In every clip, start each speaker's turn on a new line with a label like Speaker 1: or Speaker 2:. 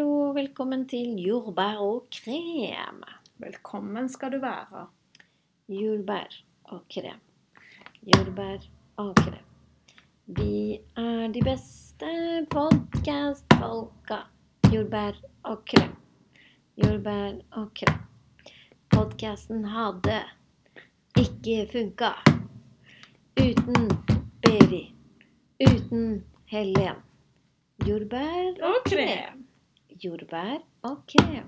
Speaker 1: Velkommen til jordbær og krem.
Speaker 2: Velkommen skal du være.
Speaker 1: Jordbær og krem. Jordbær og krem. Vi er de beste podkastfolka. Jordbær og krem. Jordbær og krem. Podkasten hadde ikke funka uten Beri. Uten Helen. Jordbær
Speaker 2: Og
Speaker 1: jordbær og krem.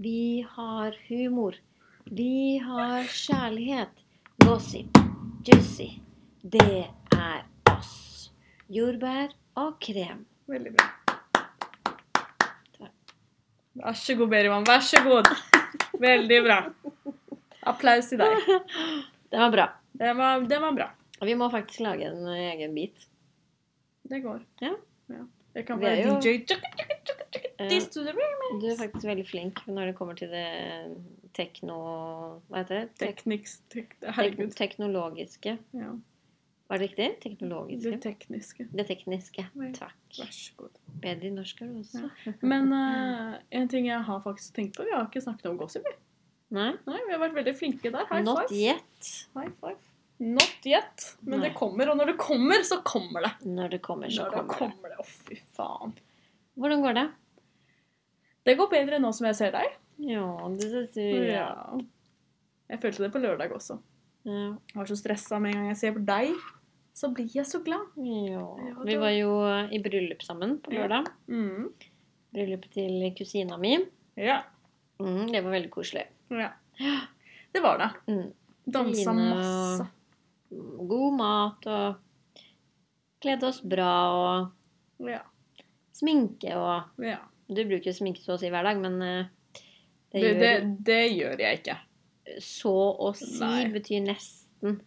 Speaker 1: Vi har humor. Vi har kjærlighet. Gossip. Juicy. Det er oss. Jordbær og krem.
Speaker 2: Veldig bra.
Speaker 1: Takk.
Speaker 2: Vær så god, Berivan. Vær så god. Veldig bra. Applaus til deg.
Speaker 1: Det var bra.
Speaker 2: Det var, det var bra.
Speaker 1: Vi må faktisk lage en egen bit.
Speaker 2: Det går.
Speaker 1: Ja.
Speaker 2: Jeg kan
Speaker 1: Vi er
Speaker 2: være
Speaker 1: jo-
Speaker 2: DJ. Tjuk, tjuk,
Speaker 1: Eh,
Speaker 2: this to the room.
Speaker 1: Du er faktisk veldig flink når det kommer til det tekno... Hva heter det? Tek
Speaker 2: Tekniks... Tek,
Speaker 1: tek
Speaker 2: herregud.
Speaker 1: teknologiske.
Speaker 2: Ja.
Speaker 1: Var det riktig?
Speaker 2: Det
Speaker 1: Teknologiske.
Speaker 2: tekniske.
Speaker 1: Det tekniske.
Speaker 2: Ja.
Speaker 1: Takk.
Speaker 2: Vær så god.
Speaker 1: Bedre i norsk er du også.
Speaker 2: Men eh, en ting jeg har faktisk tenkt på, vi har ikke snakket om gossip. vi.
Speaker 1: Nei?
Speaker 2: Nei, vi har vært veldig flinke der. High
Speaker 1: Not
Speaker 2: five.
Speaker 1: yet.
Speaker 2: High five. Not yet. Men
Speaker 1: Nei.
Speaker 2: det kommer, og når det kommer, så kommer det.
Speaker 1: Når det kommer, så
Speaker 2: Når det
Speaker 1: kommer det.
Speaker 2: kommer det. Å, fy faen.
Speaker 1: Hvordan går det?
Speaker 2: Det går bedre nå som jeg ser deg.
Speaker 1: Ja, det syns du ja.
Speaker 2: Ja. Jeg følte det på lørdag også.
Speaker 1: Ja.
Speaker 2: Jeg var så stressa med en gang jeg ser på deg, så blir jeg så glad.
Speaker 1: ja.
Speaker 2: det-
Speaker 1: Vi var jo eh, i bryllup sammen på
Speaker 2: Ja.
Speaker 1: lørdag.
Speaker 2: Mm.
Speaker 1: Bryllup til kusina mi.
Speaker 2: Ja.
Speaker 1: Mm, det var veldig koselig.
Speaker 2: ja. Det var det.
Speaker 1: Mm.
Speaker 2: Dansa
Speaker 1: Fine-
Speaker 2: masse.
Speaker 1: God mat og kledde oss bra og
Speaker 2: Ja.
Speaker 1: sminke og
Speaker 2: ja.
Speaker 1: Du bruker jo sminke så å si hver dag, men eh, det
Speaker 2: Det,
Speaker 1: gjør
Speaker 2: det, det gjør jeg ikke.
Speaker 1: så å si
Speaker 2: Nei.
Speaker 1: betyr nesten.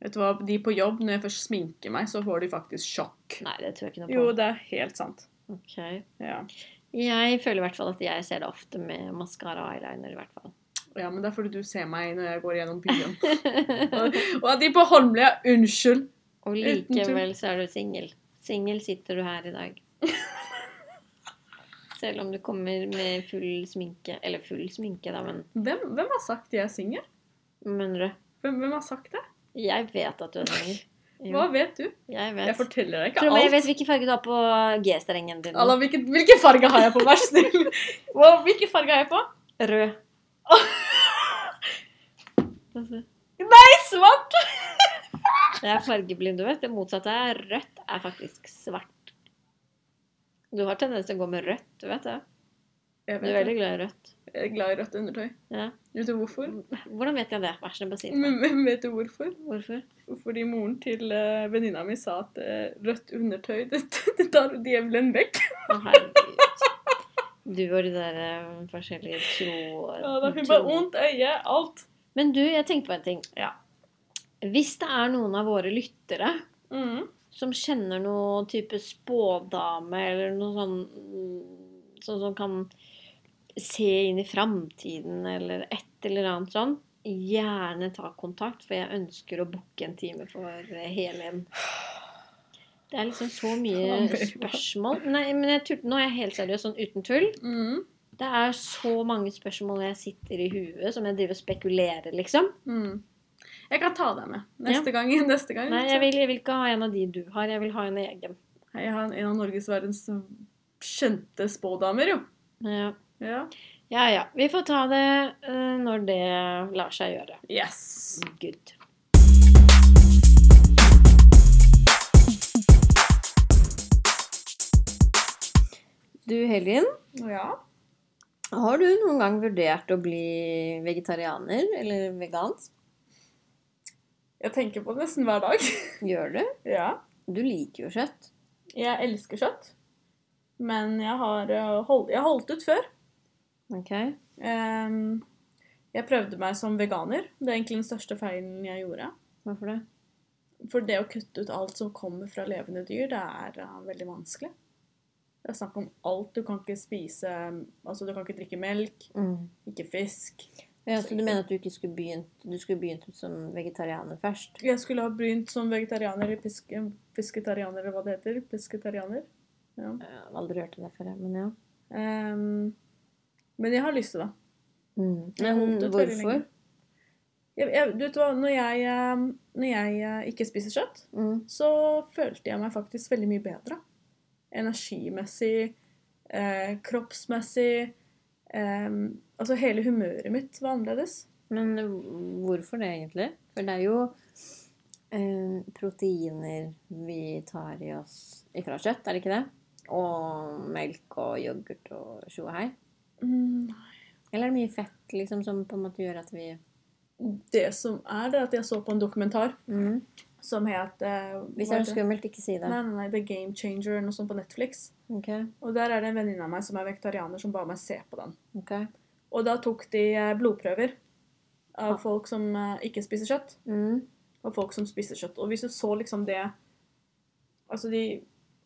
Speaker 2: Vet du hva, De på jobb, når jeg først sminker meg, så får de faktisk sjokk.
Speaker 1: Nei, det tror jeg ikke noe på.
Speaker 2: Jo, det er helt sant.
Speaker 1: Ok.
Speaker 2: Ja,
Speaker 1: Jeg føler i hvert fall at jeg ser det ofte med maskara og eyeliner. i hvert fall.
Speaker 2: ja men det er fordi du ser meg når jeg går gjennom byen. Og, og de på Holmlia, unnskyld!
Speaker 1: Og
Speaker 2: Uten tull.
Speaker 1: likevel så er du singel. Singel sitter du her i dag. Selv om du kommer med full sminke. Eller full sminke, da, men
Speaker 2: Hvem, hvem har sagt jeg er singel?
Speaker 1: Mener du?
Speaker 2: Hvem, hvem har sagt det?
Speaker 1: Jeg vet at du er singel. Jo,
Speaker 2: Hva vet du?
Speaker 1: Jeg
Speaker 2: Jeg
Speaker 1: vet.
Speaker 2: forteller deg ikke
Speaker 1: Tror du jeg
Speaker 2: alt.
Speaker 1: vet hvilken farge du har på G-strengen din? nå?
Speaker 2: Alla, hvilken, hvilken farge har jeg på? Vær så snill! Wow, hvilken farge har jeg på?
Speaker 1: Rød.
Speaker 2: Nei, svart!
Speaker 1: Jeg er fargeblind, du vet. Det motsatte er rødt er faktisk svart. Du har tendens til å gå med rødt, du vet det.
Speaker 2: Jeg,
Speaker 1: Du er
Speaker 2: vet det.
Speaker 1: veldig glad i rødt.
Speaker 2: jeg er glad i rødt undertøy.
Speaker 1: Ja.
Speaker 2: Vet du hvorfor?
Speaker 1: Hvordan vet jeg det? Vær så snill, bare si det.
Speaker 2: Men, men vet du hvorfor?
Speaker 1: Hvorfor?
Speaker 2: Fordi moren til eh, venninna mi sa at eh, rødt undertøy, det, det tar djevelen vekk.
Speaker 1: Å, herregud. Du og de der eh, forskjellige tro...
Speaker 2: Ja, da Hun bare
Speaker 1: tro-
Speaker 2: ondt øye, alt.
Speaker 1: Men du, jeg tenkte på en ting.
Speaker 2: Ja.
Speaker 1: Hvis det er noen av våre lyttere
Speaker 2: Mm.
Speaker 1: som kjenner noe type spådame, eller noe sånn mm, Sånn som kan se inn i framtiden, eller et eller annet sånn, gjerne ta kontakt, for jeg ønsker å booke en time for eh, Helen. Det er liksom så mye
Speaker 2: Ja, men-
Speaker 1: spørsmål. Nei, men jeg turte, nå er jeg helt seriøs, sånn uten tull.
Speaker 2: Mm.
Speaker 1: Det er så mange spørsmål jeg sitter i huet som jeg driver og spekulerer, liksom.
Speaker 2: Mm. Jeg kan ta deg med neste gang. Neste gang
Speaker 1: Nei, jeg vil, jeg vil ikke ha en av de du har, jeg vil ha en egen.
Speaker 2: Hei, Jeg har en av Norges verdens kjente spådamer, jo.
Speaker 1: Ja.
Speaker 2: Ja.
Speaker 1: ja ja. Vi får ta det eh, når det lar seg gjøre.
Speaker 2: Yes.
Speaker 1: Good. Du Helin,
Speaker 2: Ja.
Speaker 1: har du noen gang vurdert å bli vegetarianer eller vegansk?
Speaker 2: Jeg tenker på det nesten hver dag.
Speaker 1: Gjør du?
Speaker 2: Ja.
Speaker 1: Du liker jo kjøtt.
Speaker 2: Jeg elsker kjøtt. Men jeg har eh, hold, jeg har holdt ut før.
Speaker 1: Ok.
Speaker 2: Ehm, jeg prøvde meg som veganer. Det er egentlig den største feilen jeg gjorde.
Speaker 1: Hvorfor det?
Speaker 2: For det å kutte ut alt som kommer fra levende dyr, det er eh, veldig vanskelig. Det er snakk om alt. Du kan ikke spise Altså, du kan ikke drikke melk,
Speaker 1: Mm.
Speaker 2: ikke fisk.
Speaker 1: Ja, så du mener at du ikke skulle begynt Du skulle begynt som vegetarianer først?
Speaker 2: Jeg skulle ha begynt som vegetarianer eller pisk, fisketarianer, eller hva det heter. Pisketarianer. Ja.
Speaker 1: Jeg har aldri hørt om det før, jeg, men ja.
Speaker 2: Ehm, men jeg har lyst til det. Jeg har
Speaker 1: Mm. Men
Speaker 2: holdt ut veldig
Speaker 1: hvorfor?
Speaker 2: lenge. Jeg, jeg, du vet hva, når jeg, ehm, når jeg eh, ikke spiser kjøtt,
Speaker 1: Mm.
Speaker 2: så følte jeg meg faktisk veldig mye bedre. Energimessig, eh, kroppsmessig ehm, Altså hele humøret mitt var annerledes.
Speaker 1: Men hvorfor det egentlig? For det er jo eh, proteiner vi tar i oss ifra kjøtt, er det ikke det? Og melk og yoghurt og tjo og hei.
Speaker 2: Mm,
Speaker 1: Eller er det mye fett liksom, som på en måte gjør at vi
Speaker 2: det som er, det er at jeg så på en dokumentar
Speaker 1: mm.
Speaker 2: som het eh,
Speaker 1: Hvis
Speaker 2: hva
Speaker 1: det er
Speaker 2: heter
Speaker 1: skummelt, ikke si det.
Speaker 2: Nei, nei, nei, The Game Changer, noe sånt på Netflix.
Speaker 1: Ok,
Speaker 2: Og der er det en venninne av meg som er vegetarianer, som ba meg se på den.
Speaker 1: ok.
Speaker 2: Og da tok de eh, blodprøver
Speaker 1: Ja.
Speaker 2: av folk som eh, ikke spiser kjøtt,
Speaker 1: Mm.
Speaker 2: og folk som spiser kjøtt. Og hvis du så liksom det Altså, de,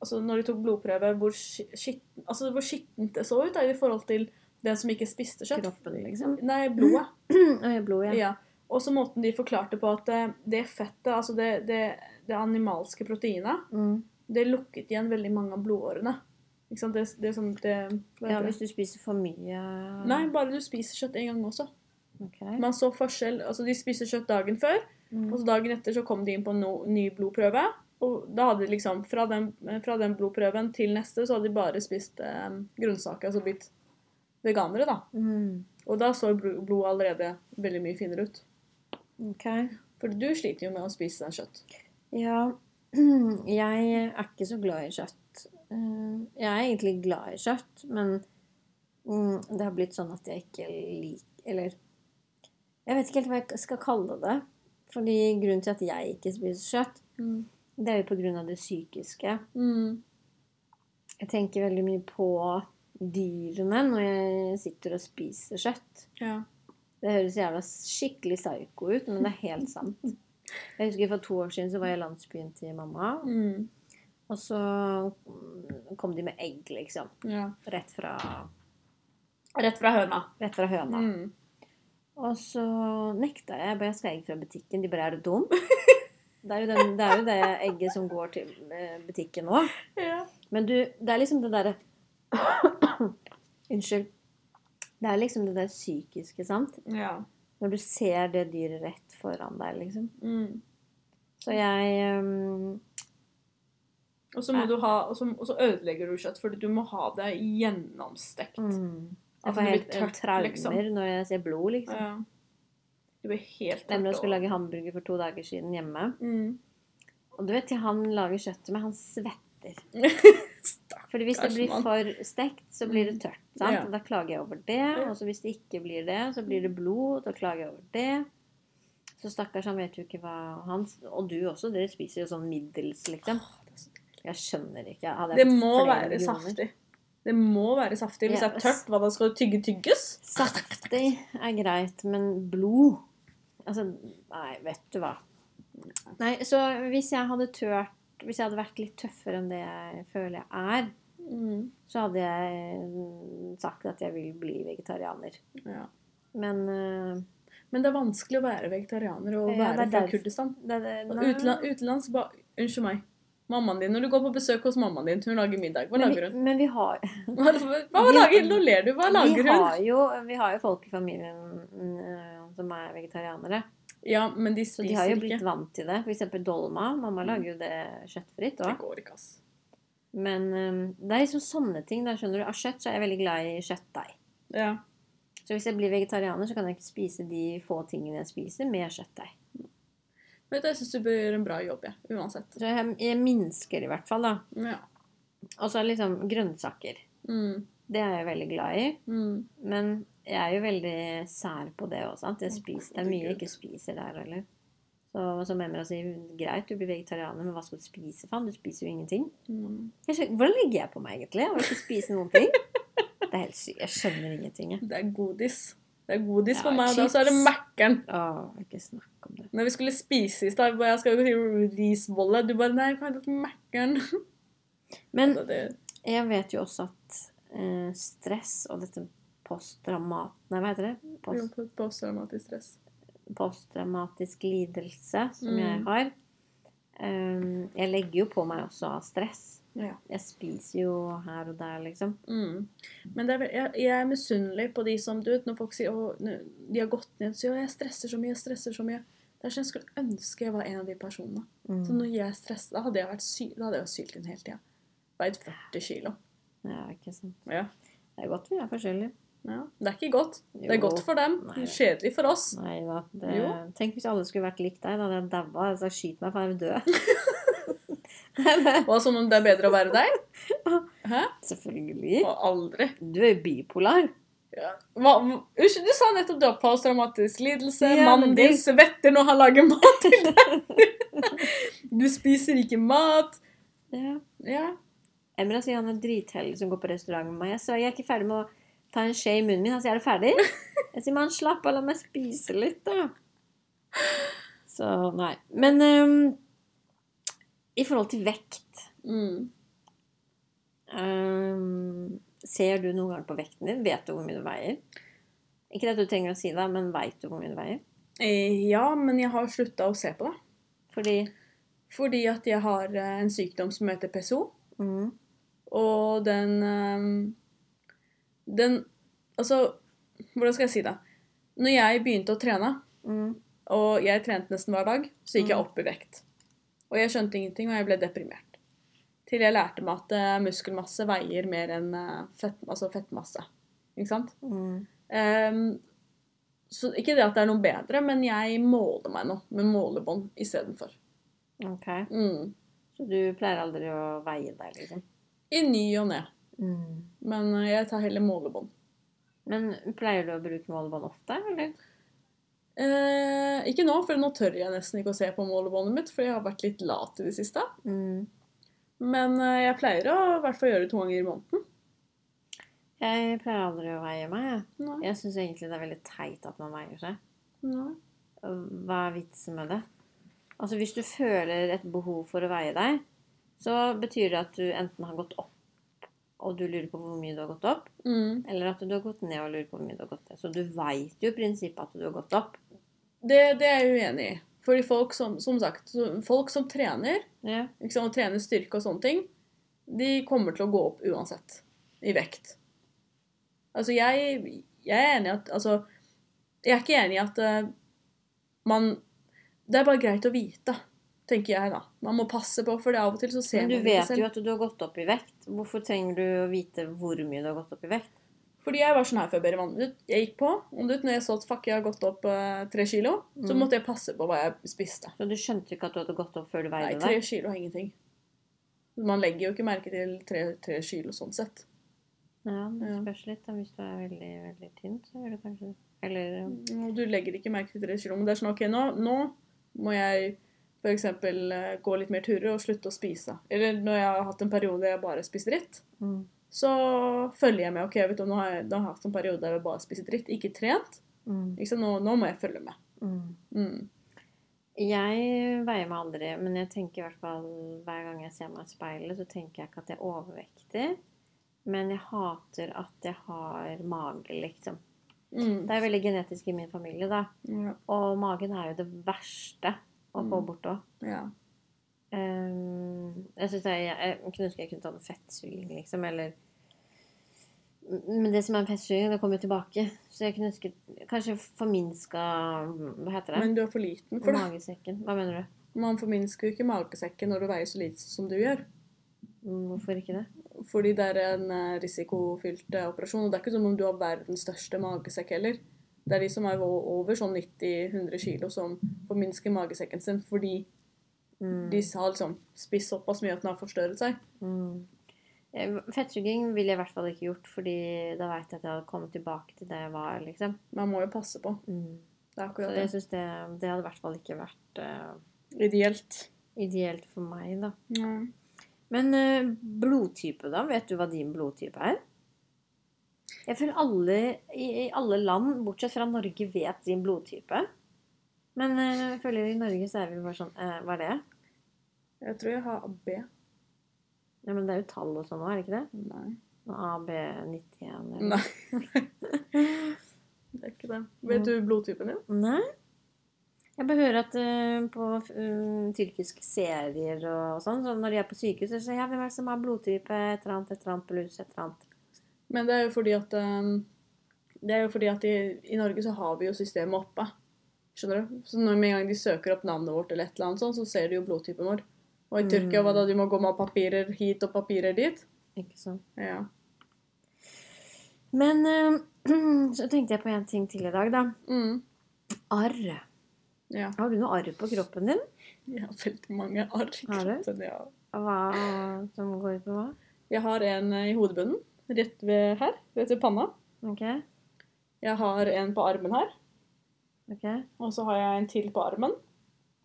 Speaker 2: altså når de tok blodprøve, hvor, ski- skitten, altså hvor skittent det så ut da, i forhold til den som ikke spiste kjøtt.
Speaker 1: Kroppen, liksom.
Speaker 2: Nei, blodet.
Speaker 1: Øye, blod, ja.
Speaker 2: Ja. Og så måten de forklarte på at eh, det fettet, altså det, det, det animalske proteinet,
Speaker 1: Mm.
Speaker 2: det lukket igjen veldig mange av blodårene. Ikke sant? Det, det er sånn det,
Speaker 1: ja.
Speaker 2: hva heter det?
Speaker 1: Hvis du spiser for mye
Speaker 2: Nei, bare du spiser kjøtt en gang også.
Speaker 1: Ok.
Speaker 2: Man så forskjell, altså De spiste kjøtt dagen før, og
Speaker 1: Mm.
Speaker 2: så dagen etter så kom de inn på en no, ny blodprøve. Og da hadde de liksom, fra den, fra den blodprøven til neste, så hadde de bare spist eh, grønnsaker, altså blitt veganere, da.
Speaker 1: Mm.
Speaker 2: Og da så bl- blodet allerede veldig mye finere ut.
Speaker 1: Ok.
Speaker 2: For du sliter jo med å spise kjøtt.
Speaker 1: Ja, jeg er ikke så glad i kjøtt. Eh, Jeg er egentlig glad i kjøtt, men mm, det har blitt sånn at jeg ikke liker Eller jeg vet ikke helt hva jeg skal kalle det. Fordi grunnen til at jeg ikke spiser kjøtt, det er jo på grunn av det psykiske.
Speaker 2: Mm.
Speaker 1: Jeg tenker veldig mye på dyrene når jeg sitter og spiser kjøtt.
Speaker 2: Ja.
Speaker 1: Det høres jævla skikkelig psyko ut, men det er helt sant. Jeg husker For to år siden så var jeg i landsbyen til mamma,
Speaker 2: Mm.
Speaker 1: Og så mm, kom de med egg, liksom.
Speaker 2: ja.
Speaker 1: Rett fra,
Speaker 2: Rett fra høna.
Speaker 1: rett fra høna.
Speaker 2: Mm.
Speaker 1: Og så nekta jeg. Jeg bare, jeg skal ha egg fra butikken. De bare Er du dum? Det er jo, den, det, er jo det egget som går til eh, butikken nå.
Speaker 2: Ja.
Speaker 1: Men du, det er liksom det derre Unnskyld. Det er liksom det der psykiske, sant?
Speaker 2: ja.
Speaker 1: Når du ser det dyret rett foran deg, liksom.
Speaker 2: Mm.
Speaker 1: Så jeg ehm,
Speaker 2: Og så må du ha, og så, og så ødelegger du kjøtt, fordi du må ha det gjennomstekt.
Speaker 1: mm, Jeg
Speaker 2: Altså,
Speaker 1: får
Speaker 2: det
Speaker 1: helt
Speaker 2: blir tørt,
Speaker 1: traumer
Speaker 2: liksom.
Speaker 1: når jeg ser blod, liksom.
Speaker 2: Ja. Du blir helt
Speaker 1: Nemlig
Speaker 2: tørt
Speaker 1: jeg skulle
Speaker 2: over.
Speaker 1: lage hamburger for to dager siden hjemme.
Speaker 2: Mm.
Speaker 1: Og du vet, til han lager kjøttet med, han svetter.
Speaker 2: Stakk.
Speaker 1: Fordi hvis det
Speaker 2: Stakkars
Speaker 1: blir
Speaker 2: mann.
Speaker 1: for stekt, så blir det tørt. sant?
Speaker 2: Ja.
Speaker 1: Og da klager jeg over det. Og så hvis det ikke blir det, så blir det blod. Da klager jeg over det. Så stakkars, han vet jo ikke hva han Og du også. Dere spiser jo sånn middels, liksom. Jeg skjønner ikke. jeg hadde
Speaker 2: Det
Speaker 1: hatt
Speaker 2: må
Speaker 1: flere
Speaker 2: være
Speaker 1: millioner.
Speaker 2: saftig. Det må være saftig. Hvis
Speaker 1: Ja,
Speaker 2: det er tørt, hva da skal du tygge tygges?
Speaker 1: Saftig er greit, men blod Altså, nei, vet du hva. Nei, så hvis jeg hadde tørt Hvis jeg hadde vært litt tøffere enn det jeg føler jeg er,
Speaker 2: Mm.
Speaker 1: så hadde jeg mm, sagt at jeg vil bli vegetarianer.
Speaker 2: Ja.
Speaker 1: Men eh,
Speaker 2: Men det er vanskelig å være vegetarianer og
Speaker 1: Ja, det
Speaker 2: være
Speaker 1: er
Speaker 2: fra
Speaker 1: derfor-
Speaker 2: Kurdistan.
Speaker 1: det, det,
Speaker 2: Og
Speaker 1: nei.
Speaker 2: utla- utenlands ba, Unnskyld meg. Mammaen din, Når du går på besøk hos mammaen din, hun lager middag. Hva
Speaker 1: men,
Speaker 2: lager hun?
Speaker 1: vi, men vi har,
Speaker 2: Hva, hva
Speaker 1: Vi-
Speaker 2: lager, nå ler du. Hva
Speaker 1: vi,
Speaker 2: lager hun?
Speaker 1: har jo, vi har jo folk i familien mm, som er vegetarianere.
Speaker 2: Ja, men de
Speaker 1: Så de har
Speaker 2: spiser
Speaker 1: jo blitt
Speaker 2: ikke.
Speaker 1: vant til det. For eksempel dolma. Mamma
Speaker 2: Mm.
Speaker 1: lager jo det kjøttfritt
Speaker 2: Det
Speaker 1: òg.
Speaker 2: går ikke, ass.
Speaker 1: Men eh, det er liksom sånne ting. Da skjønner du. Av kjøtt så er jeg veldig glad i kjøttdeig.
Speaker 2: Ja.
Speaker 1: Så hvis jeg blir vegetarianer, så kan jeg ikke spise de få tingene jeg spiser med kjøttdeig.
Speaker 2: Vet du, jeg syns du bør gjøre en bra jobb, jeg. Uansett.
Speaker 1: Så jeg, jeg minsker i hvert fall, da.
Speaker 2: Ja.
Speaker 1: Og så er det liksom grønnsaker.
Speaker 2: Mm.
Speaker 1: Det er jeg veldig glad i.
Speaker 2: Mm.
Speaker 1: Men jeg er jo veldig sær på det òg, sant. Jeg
Speaker 2: Å,
Speaker 1: spiser, det er mye jeg
Speaker 2: herregud.
Speaker 1: ikke spiser der heller. Så som Emra sier, greit, du blir vegetarianer, men hva skal du spise, faen? Du spiser jo ingenting.
Speaker 2: Mm.
Speaker 1: Jeg skjønner, hvordan legger jeg på meg, egentlig? Av å ikke spise noen ting? Det er helt sykt. Jeg skjønner ingenting, jeg.
Speaker 2: Det er godis. Det er godis
Speaker 1: Ja,
Speaker 2: for meg, og da så er det
Speaker 1: chips.
Speaker 2: Mækkern.
Speaker 1: Åh, ikke snakk om det.
Speaker 2: Når vi skulle spise i stad, jeg bare, jeg skal jo til risbolle. Du bare Nei, kan jeg ta Mækkern?
Speaker 1: Men
Speaker 2: Det- det-
Speaker 1: Jeg vet jo også at eh, stress og dette posttraumat... Nei, hva heter det?
Speaker 2: jo,
Speaker 1: Post,
Speaker 2: på- Posttraumatisk stress.
Speaker 1: posttraumatisk lidelse som jeg ehm,
Speaker 2: Mm.
Speaker 1: har. eh, jeg legger jo på meg også av stress.
Speaker 2: Ja.
Speaker 1: Jeg spiser jo her og der, liksom.
Speaker 2: Mm. Men det er, vel- jeg, jeg er misunnelig på de som du vet, Når folk sier å, nå- de har gått ned, så sier jeg, jeg stresser så mye, jeg stresser så mye. Det er sånn jeg skulle ønske jeg var en av de personene. Så
Speaker 1: Mm.
Speaker 2: når jeg stresset, da hadde jeg vært sy da hadde jeg vært sylt inn hele tida. Veid 40 kilo.
Speaker 1: Ja, ikke sant.
Speaker 2: Ja.
Speaker 1: Det er godt vi er forskjellige.
Speaker 2: ja. Det er ikke godt. Det er
Speaker 1: Jo.
Speaker 2: godt for dem,
Speaker 1: Nei.
Speaker 2: men kjedelig for oss.
Speaker 1: Nei da. Det,
Speaker 2: Jo.
Speaker 1: tenk hvis alle skulle vært lik deg. Da hadde jeg daua. Altså, skyt meg, for jeg vil dø.
Speaker 2: Hva som om det er bedre å være deg? Hæ?
Speaker 1: Selvfølgelig.
Speaker 2: Og aldri.
Speaker 1: Du er jo bipolar.
Speaker 2: Hva, hva- Unnskyld, du sa nettopp da posttraumatisk lidelse.
Speaker 1: Ja,
Speaker 2: Mannen
Speaker 1: men det-
Speaker 2: din svetter når han lager mat til deg. Du spiser ikke mat.
Speaker 1: Ja.
Speaker 2: Ja.
Speaker 1: Emra sier han er dritheldig som går på restaurant med meg. Jeg sa jeg er ikke ferdig med å ta en skje i munnen min. Han sier er du ferdig? Jeg sier men slapp av, la meg spise litt, da. Så nei. Men ehm, i forhold til vekt
Speaker 2: Mm.
Speaker 1: ehm, Ser du noen gang på vekten din? Vet du hvor mye du veier? Ikke at du trenger å si det, men veit du hvor mye du veier?
Speaker 2: Eh, Ja, men jeg har slutta å se på det.
Speaker 1: Fordi
Speaker 2: Fordi at jeg har eh, en sykdom som heter PSO,
Speaker 1: mm,
Speaker 2: og den eh, Den Altså, hvordan skal jeg si det? Når jeg begynte å trene,
Speaker 1: mm,
Speaker 2: og jeg trente nesten hver dag, så gikk jeg
Speaker 1: Mm.
Speaker 2: opp i vekt. Og jeg skjønte ingenting, og jeg ble deprimert. Til jeg lærte meg at eh, muskelmasse veier mer enn eh, fett, altså fettmasse. Ikke sant?
Speaker 1: mm,
Speaker 2: Ehm, så ikke det at det er noe bedre, men jeg måler meg nå med målebånd istedenfor.
Speaker 1: OK.
Speaker 2: Mm.
Speaker 1: Så du pleier aldri å veie deg, liksom?
Speaker 2: I ny og ne.
Speaker 1: Mm.
Speaker 2: Men eh, jeg tar heller målebånd.
Speaker 1: Men pleier du å bruke målebånd ofte, eller?
Speaker 2: Eh, ikke nå, for nå tør jeg nesten ikke å se på målebåndet mitt, for jeg har vært litt lat i det siste.
Speaker 1: Mm.
Speaker 2: Men eh, jeg pleier å i hvert fall gjøre det to ganger i måneden.
Speaker 1: Jeg pleier aldri å veie meg. jeg.
Speaker 2: Nei.
Speaker 1: Jeg syns egentlig det er veldig teit at man veier seg.
Speaker 2: Nei.
Speaker 1: Hva er vitsen med det? Altså, hvis du føler et behov for å veie deg, så betyr det at du enten har gått opp, og du lurer på hvor mye du har gått opp,
Speaker 2: Mm.
Speaker 1: eller at du har gått ned og lurer på hvor mye du har gått ned. Så du veit jo i prinsippet at du har gått opp.
Speaker 2: Det, det er jeg uenig i. Fordi folk som, som sagt, så- folk som trener,
Speaker 1: Ja.
Speaker 2: liksom, og trener styrke og sånne ting, de kommer til å gå opp uansett i vekt. Altså, jeg, jeg er enig i at Altså, jeg er ikke enig i at eh, man Det er bare greit å vite, tenker jeg, da. Man må passe på, for det er av og til så ser
Speaker 1: Men du
Speaker 2: man
Speaker 1: vet jo at du har gått opp i vekt. Hvorfor trenger du å vite hvor mye du har gått opp i vekt?
Speaker 2: Fordi jeg var sånn her før, Bereman. Jeg gikk på, og du vet, når jeg så at fuck, jeg har gått opp eh, tre kilo, så
Speaker 1: Mm.
Speaker 2: måtte jeg passe på hva jeg spiste.
Speaker 1: Så du skjønte ikke at du hadde gått opp før du
Speaker 2: Nei,
Speaker 1: veide
Speaker 2: tre
Speaker 1: deg?
Speaker 2: kilo er ingenting. Man legger jo ikke merke til tre, tre kilo sånn sett.
Speaker 1: Ja, det
Speaker 2: Ja.
Speaker 1: spørs litt. Da. Hvis du er veldig, veldig tynn, så gjør du kanskje det. Eller
Speaker 2: Og Du legger ikke merke til tre kilo, men det er sånn ok, nå, nå må jeg f.eks. gå litt mer turer og slutte å spise. Eller når jeg har hatt en periode jeg bare spiser dritt,
Speaker 1: mm.
Speaker 2: så følger jeg med. ok, vet du, nå har jeg, nå har jeg hatt en periode der jeg bare spiser dritt, ikke trent.
Speaker 1: Mm.
Speaker 2: Ikke sant? Nå, nå må jeg følge med.
Speaker 1: Mm.
Speaker 2: Mm.
Speaker 1: Jeg veier meg aldri, men jeg tenker i hvert fall hver gang jeg ser meg i speilet, så tenker jeg ikke at jeg er overvektig. Men jeg hater at jeg har mage, liksom.
Speaker 2: Mm.
Speaker 1: Det er veldig genetisk i min familie, da.
Speaker 2: Ja.
Speaker 1: Og magen er jo det verste å få
Speaker 2: Mm.
Speaker 1: bort òg.
Speaker 2: ja.
Speaker 1: Ehm, jeg, synes jeg, jeg kunne ønske jeg kunne tatt en fettsuging, liksom, eller Men det som er en fettsuging, det kommer jo tilbake. Så jeg kunne ønske Kanskje forminska Hva heter det?
Speaker 2: Men du er for liten for det.
Speaker 1: Magesekken. Hva mener du?
Speaker 2: Man forminsker jo ikke magesekken når du veier så lite som du gjør.
Speaker 1: Mm, Hvorfor ikke det?
Speaker 2: Fordi det er en eh, risikofylt eh, operasjon. Og det er ikke som om du har verdens største magesekk heller. Det er de som er o- over sånn 90-100 kilo som forminsker magesekken sin fordi
Speaker 1: Mm.
Speaker 2: de har liksom spist såpass mye at den har forstørret seg.
Speaker 1: Mm. Eh, Fettsuging ville jeg i hvert fall ikke gjort, fordi da veit jeg at jeg hadde kommet tilbake til det jeg var, liksom.
Speaker 2: Man må jo passe på.
Speaker 1: Mm.
Speaker 2: Det
Speaker 1: Så
Speaker 2: er akkurat
Speaker 1: jeg
Speaker 2: det.
Speaker 1: syns det, det hadde i hvert fall ikke vært eh,
Speaker 2: Ideelt.
Speaker 1: ideelt for meg, da.
Speaker 2: Ja.
Speaker 1: Men eh, blodtype, da? Vet du hva din blodtype er? Jeg føler alle i, i alle land, bortsett fra Norge, vet sin blodtype. Men eh, jeg føler i Norge så er vi bare sånn eh, Hva er det?
Speaker 2: Jeg tror jeg har B.
Speaker 1: Ja, men det er jo tall og sånn nå, er det ikke det?
Speaker 2: Nei.
Speaker 1: AB91 eller
Speaker 2: Nei. det er ikke det. Vet du blodtypen din?
Speaker 1: Nei? Jeg bare hører at eh, på eh, tyrkiske serier og sånn, så når de er på sykehus, så sier jeg hvem er det som har blodtype, et eller annet, et eller annet, blus, et eller annet.
Speaker 2: Men det er jo fordi at ehm, Det er jo fordi at i, i Norge så har vi jo systemet oppe. Skjønner du? Så når med en gang de søker opp navnet vårt, eller et eller annet sånt, så ser de jo blodtypen vår. Og i Tyrkia
Speaker 1: Mm.
Speaker 2: var det du må gå med papirer hit og papirer dit.
Speaker 1: Ikke sant?
Speaker 2: Ja.
Speaker 1: Men eh, så tenkte jeg på en ting til i dag, da.
Speaker 2: Mm.
Speaker 1: Arr.
Speaker 2: Ja.
Speaker 1: Har du noe arr på kroppen din?
Speaker 2: Jeg har veldig mange arr i
Speaker 1: Har du?
Speaker 2: kroppen. Ja.
Speaker 1: Hva som går ut på hva?
Speaker 2: Jeg har en eh, i hodebunnen, rett ved her, rett ved panna.
Speaker 1: Ok,
Speaker 2: Jeg har en på armen her,
Speaker 1: ok.
Speaker 2: og så har jeg en til på armen.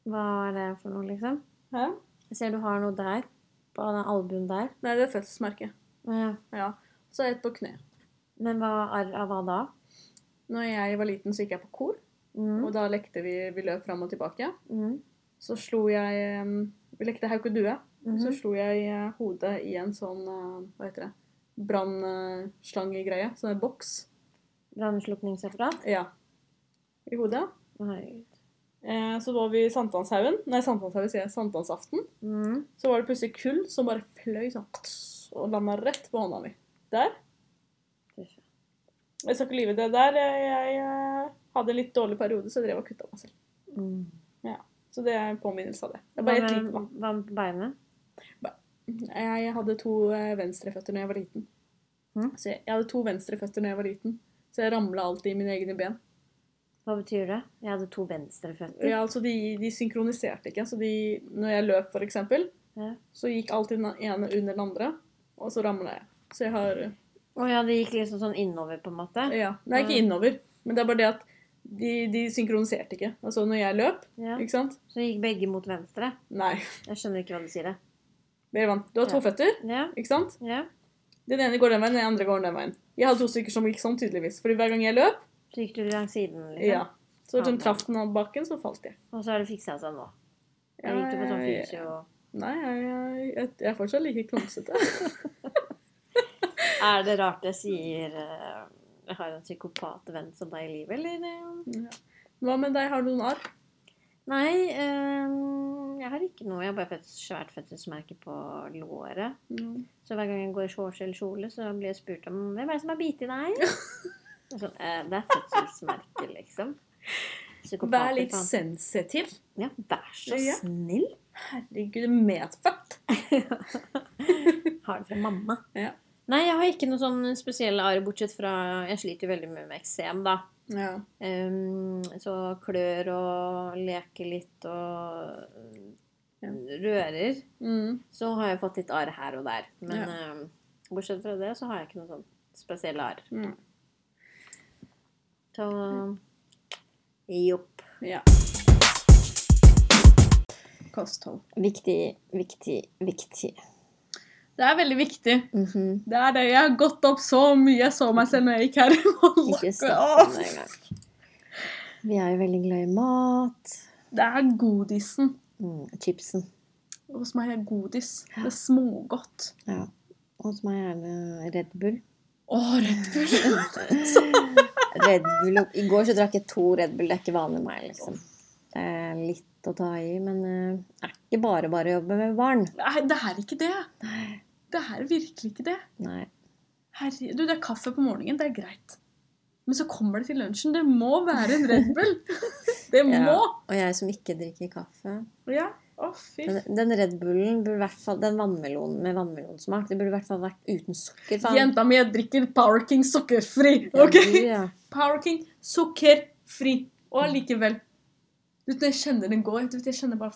Speaker 1: Hva er det for noe, liksom?
Speaker 2: Hæ?
Speaker 1: Jeg ser du har noe der. På den albuen der.
Speaker 2: Nei, det er fødselsmerket.
Speaker 1: Ja.
Speaker 2: Ja. Så er jeg et på kne.
Speaker 1: Men hva arr av hva da?
Speaker 2: Når jeg var liten, så gikk jeg på kor,
Speaker 1: Mm.
Speaker 2: og da lekte vi, vi løp fram og tilbake.
Speaker 1: Mm.
Speaker 2: Så slo jeg eh, Vi lekte hauk og due. Så
Speaker 1: Mhm.
Speaker 2: slo jeg eh, hodet i en sånn eh, Hva heter det? Brannslangegreie. Sånn en boks.
Speaker 1: Brannslukningsapparat?
Speaker 2: Ja. I hodet.
Speaker 1: Herregud.
Speaker 2: Eh, Så var vi i Sankthanshaugen. Nei, Sankthanshaugen sier jeg. Sankthansaften.
Speaker 1: Mm.
Speaker 2: Så var det plutselig kull som bare fløy sånn kts, og landa rett på hånda mi. Der.
Speaker 1: Fy faen.
Speaker 2: Jeg skal ikke lyve det der. Jeg, jeg eh, hadde litt dårlig periode, så jeg drev og kutta meg selv.
Speaker 1: Mm.
Speaker 2: Så det er en påminnelse av det.
Speaker 1: Hva
Speaker 2: Det er bare et
Speaker 1: med
Speaker 2: lite vann.
Speaker 1: hva med beinet?
Speaker 2: Jeg hadde to eh, venstreføtter når jeg var liten.
Speaker 1: Mhm.
Speaker 2: Så jeg, jeg hadde to venstreføtter når jeg var liten, så jeg ramla alltid i mine egne ben.
Speaker 1: Hva betyr det? Jeg hadde to venstreføtter.
Speaker 2: Ja, altså de, de synkroniserte ikke, så de, når jeg løp for eksempel,
Speaker 1: Ja.
Speaker 2: så gikk alltid den ene under den andre, og så ramla jeg. Så jeg har
Speaker 1: Å ja, det gikk liksom sånn innover, på en måte.
Speaker 2: Ja. Nei, ikke
Speaker 1: Mm.
Speaker 2: innover, men det er bare det at de, de synkroniserte ikke. Altså når jeg løp,
Speaker 1: Ja.
Speaker 2: ikke sant?
Speaker 1: Så gikk begge mot venstre.
Speaker 2: Nei.
Speaker 1: Jeg skjønner ikke hva du sier. det.
Speaker 2: Dere vant. Du har to
Speaker 1: Ja.
Speaker 2: føtter,
Speaker 1: Ja,
Speaker 2: ikke sant?
Speaker 1: ja.
Speaker 2: Den ene går den veien, den andre går den veien. Jeg hadde to stykker som gikk sånn, tydeligvis. Fordi hver gang jeg løp,
Speaker 1: Så gikk du langs siden, liksom.
Speaker 2: ja. Så den traff den av bakken, så falt jeg.
Speaker 1: Og så har det fiksa seg nå. Jeg gikk du på sånn
Speaker 2: Jeg-
Speaker 1: fysio.
Speaker 2: Nei, jeg, jeg, jeg, jeg er fortsatt like klumsete.
Speaker 1: Er det rart jeg sier eh, jeg har en psykopat venn som deg i livet, eller?
Speaker 2: Ja. Hva med deg, har du noen arr?
Speaker 1: Nei, eh, jeg har ikke noe. Jeg har bare fått et svært fødselsmerke på låret. Så hver gang jeg går i shorts eller kjole, så blir jeg spurt om hvem er det som har bitt i deg? Og Sånn, eh, det er fødselsmerke, liksom.
Speaker 2: Vær litt
Speaker 1: faen.
Speaker 2: sensitiv.
Speaker 1: Ja, vær så
Speaker 2: Ja.
Speaker 1: snill.
Speaker 2: Herregud, medfødt.
Speaker 1: Har det fra mamma.
Speaker 2: Ja.
Speaker 1: Nei, jeg har ikke noe sånn spesielle arr, bortsett fra Jeg sliter jo veldig mye med eksem, da.
Speaker 2: Ja.
Speaker 1: Ehm, så klør og leker litt og
Speaker 2: Ja.
Speaker 1: rører.
Speaker 2: Mm.
Speaker 1: Så har jeg fått litt arr her og der. Men
Speaker 2: Ja.
Speaker 1: ehm, bortsett fra det, så har jeg ikke noe sånn spesielle arr.
Speaker 2: Mm.
Speaker 1: Så jopp.
Speaker 2: Ja. Kosthold.
Speaker 1: Viktig, viktig, viktig.
Speaker 2: Det er veldig viktig.
Speaker 1: Mhm.
Speaker 2: Det er det. Jeg har gått opp så mye. Jeg så meg selv når jeg gikk her.
Speaker 1: Ikke snakk om det engang. Vi er jo veldig glad i mat.
Speaker 2: Det er godisen.
Speaker 1: Mm, chipsen.
Speaker 2: Hos meg er godis. Det er smågodt.
Speaker 1: Ja. Hos meg er det Red Bull.
Speaker 2: Å, Red Bull.
Speaker 1: Red Bull. og- I går så drakk jeg to Red Bull. Det er ikke vanlig meg, liksom. Det er litt å ta i, men eh, det er ikke bare bare å jobbe med barn.
Speaker 2: Nei, det er ikke det.
Speaker 1: Nei.
Speaker 2: Det er virkelig ikke det.
Speaker 1: Nei.
Speaker 2: Herre, du, det er kaffe på morgenen, det er greit. Men så kommer det til lunsjen. Det må være en Red Bull. Det må.
Speaker 1: Ja. Og jeg som ikke drikker kaffe
Speaker 2: Ja. Å, fy.
Speaker 1: Den, den Red Bullen burde i hvert fall Den vannmelonen med vannmelonsmak, det burde i hvert fall vært uten sukker. faen.
Speaker 2: Jenta mi, jeg drikker Power King sukkerfri.
Speaker 1: Ja,
Speaker 2: Ok?
Speaker 1: du, ja.
Speaker 2: Power King sukkerfri. Og allikevel Du vet, når jeg kjenner den går. Du vet, jeg kjenner bare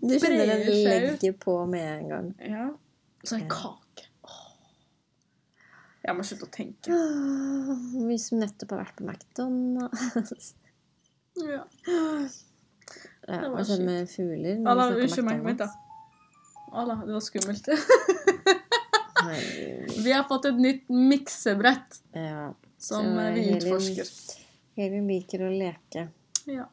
Speaker 1: Du kjenner den
Speaker 2: Breier seg ut.
Speaker 1: legger på med en gang.
Speaker 2: Ja. Så er det kake. Åh. Jeg må slutte å tenke.
Speaker 1: Åh, Vi som nettopp har vært på McDonald's
Speaker 2: Ja.
Speaker 1: ja,
Speaker 2: Det var
Speaker 1: Hva skjedde med fugler? når vi
Speaker 2: Allah,
Speaker 1: snakker
Speaker 2: unnskyld meg. Vent, da.
Speaker 1: McDonald's?
Speaker 2: Allah, det var skummelt.
Speaker 1: Herregud.
Speaker 2: Vi har fått et nytt miksebrett
Speaker 1: Ja.
Speaker 2: som
Speaker 1: Så
Speaker 2: eh, vi
Speaker 1: Elin-
Speaker 2: utforsker.
Speaker 1: Elin liker å leke.
Speaker 2: Ja.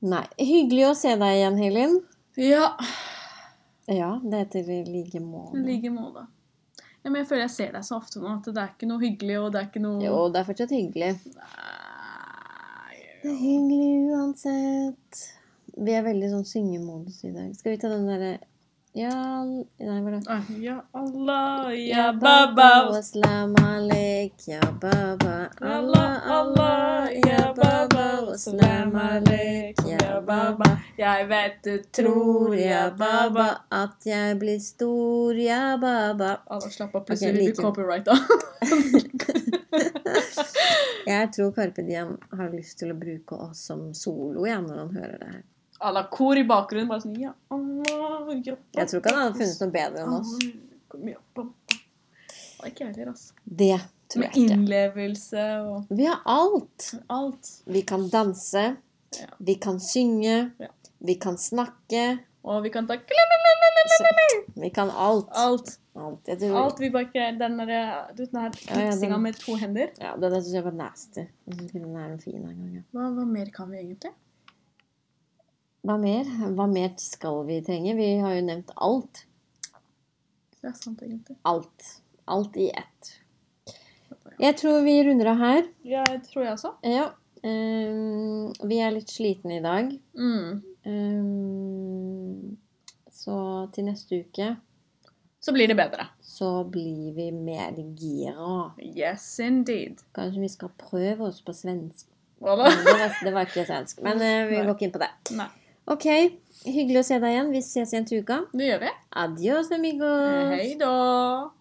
Speaker 1: Nei. Hyggelig å se deg igjen, Helin.
Speaker 2: ja.
Speaker 1: Ja, det heter i like måte.
Speaker 2: I like måte. Ja, men jeg føler jeg ser deg så ofte nå at det er ikke noe hyggelig, og det er ikke noe
Speaker 1: Jo, det er fortsatt hyggelig.
Speaker 2: Nei,
Speaker 1: Det er hyggelig uansett. Vi er veldig sånn syngemodus i dag. Skal vi ta den derre Ja Nei, hva er det?
Speaker 2: Ja Allah,
Speaker 1: Ja, baba, waslam alek, ja, baba. Allah, Allah, ja, baba, waslam alek, ja, baba.
Speaker 2: Jeg vet du
Speaker 1: Tror, ja, baba, at jeg blir stor, ja, baba.
Speaker 2: Alle slapp av,
Speaker 1: Ok,
Speaker 2: plutselig blir
Speaker 1: like.
Speaker 2: du copyrighta.
Speaker 1: Jeg tror Carpe Diem har lyst til å bruke oss som solo ja, når han hører det her.
Speaker 2: Alle har kor i bakgrunnen, bare sånn ja, Allah, ja,
Speaker 1: Jeg tror ikke han hadde funnet noe bedre enn oss.
Speaker 2: Kom, ja, baba. Nei, Ikke jeg heller, altså.
Speaker 1: Det tror
Speaker 2: Med
Speaker 1: jeg ikke.
Speaker 2: innlevelse og
Speaker 1: Vi har alt.
Speaker 2: alt.
Speaker 1: Vi kan danse.
Speaker 2: Ja.
Speaker 1: Vi kan synge.
Speaker 2: Ja.
Speaker 1: Vi kan snakke.
Speaker 2: Og vi kan ta klapp,
Speaker 1: Vi kan alt.
Speaker 2: alt.
Speaker 1: Alt. Jeg tror
Speaker 2: Alt vi bare ikke Den derre Du vet den her
Speaker 1: ja, den-
Speaker 2: knipsinga med to hender?
Speaker 1: Ja, den der synes jeg var nasty. Jeg synes ikke den er noe fin en gang. ja.
Speaker 2: Hva, hva mer kan vi egentlig?
Speaker 1: Hva mer? Hva mer skal vi trenge? Vi har jo nevnt alt.
Speaker 2: Det er sant, egentlig.
Speaker 1: Alt. Alt i ett. Jeg tror vi runder av her.
Speaker 2: Ja, jeg tror jeg også.
Speaker 1: Ja. ehm, vi er litt slitne i dag.
Speaker 2: Mm.
Speaker 1: Ehm, så til neste uke
Speaker 2: Så blir det bedre.
Speaker 1: så blir vi mer gira.
Speaker 2: Yes, indeed.
Speaker 1: Kanskje vi skal prøve oss på svensk.
Speaker 2: Voilà.
Speaker 1: Men Det var, det var ikke svensk, men eh, vi går ikke inn på det.
Speaker 2: Nei.
Speaker 1: Ok, hyggelig å se deg igjen. Vi ses igjen til uka.
Speaker 2: Det gjør vi.
Speaker 1: Mm. Adios, amigos.
Speaker 2: Hei da.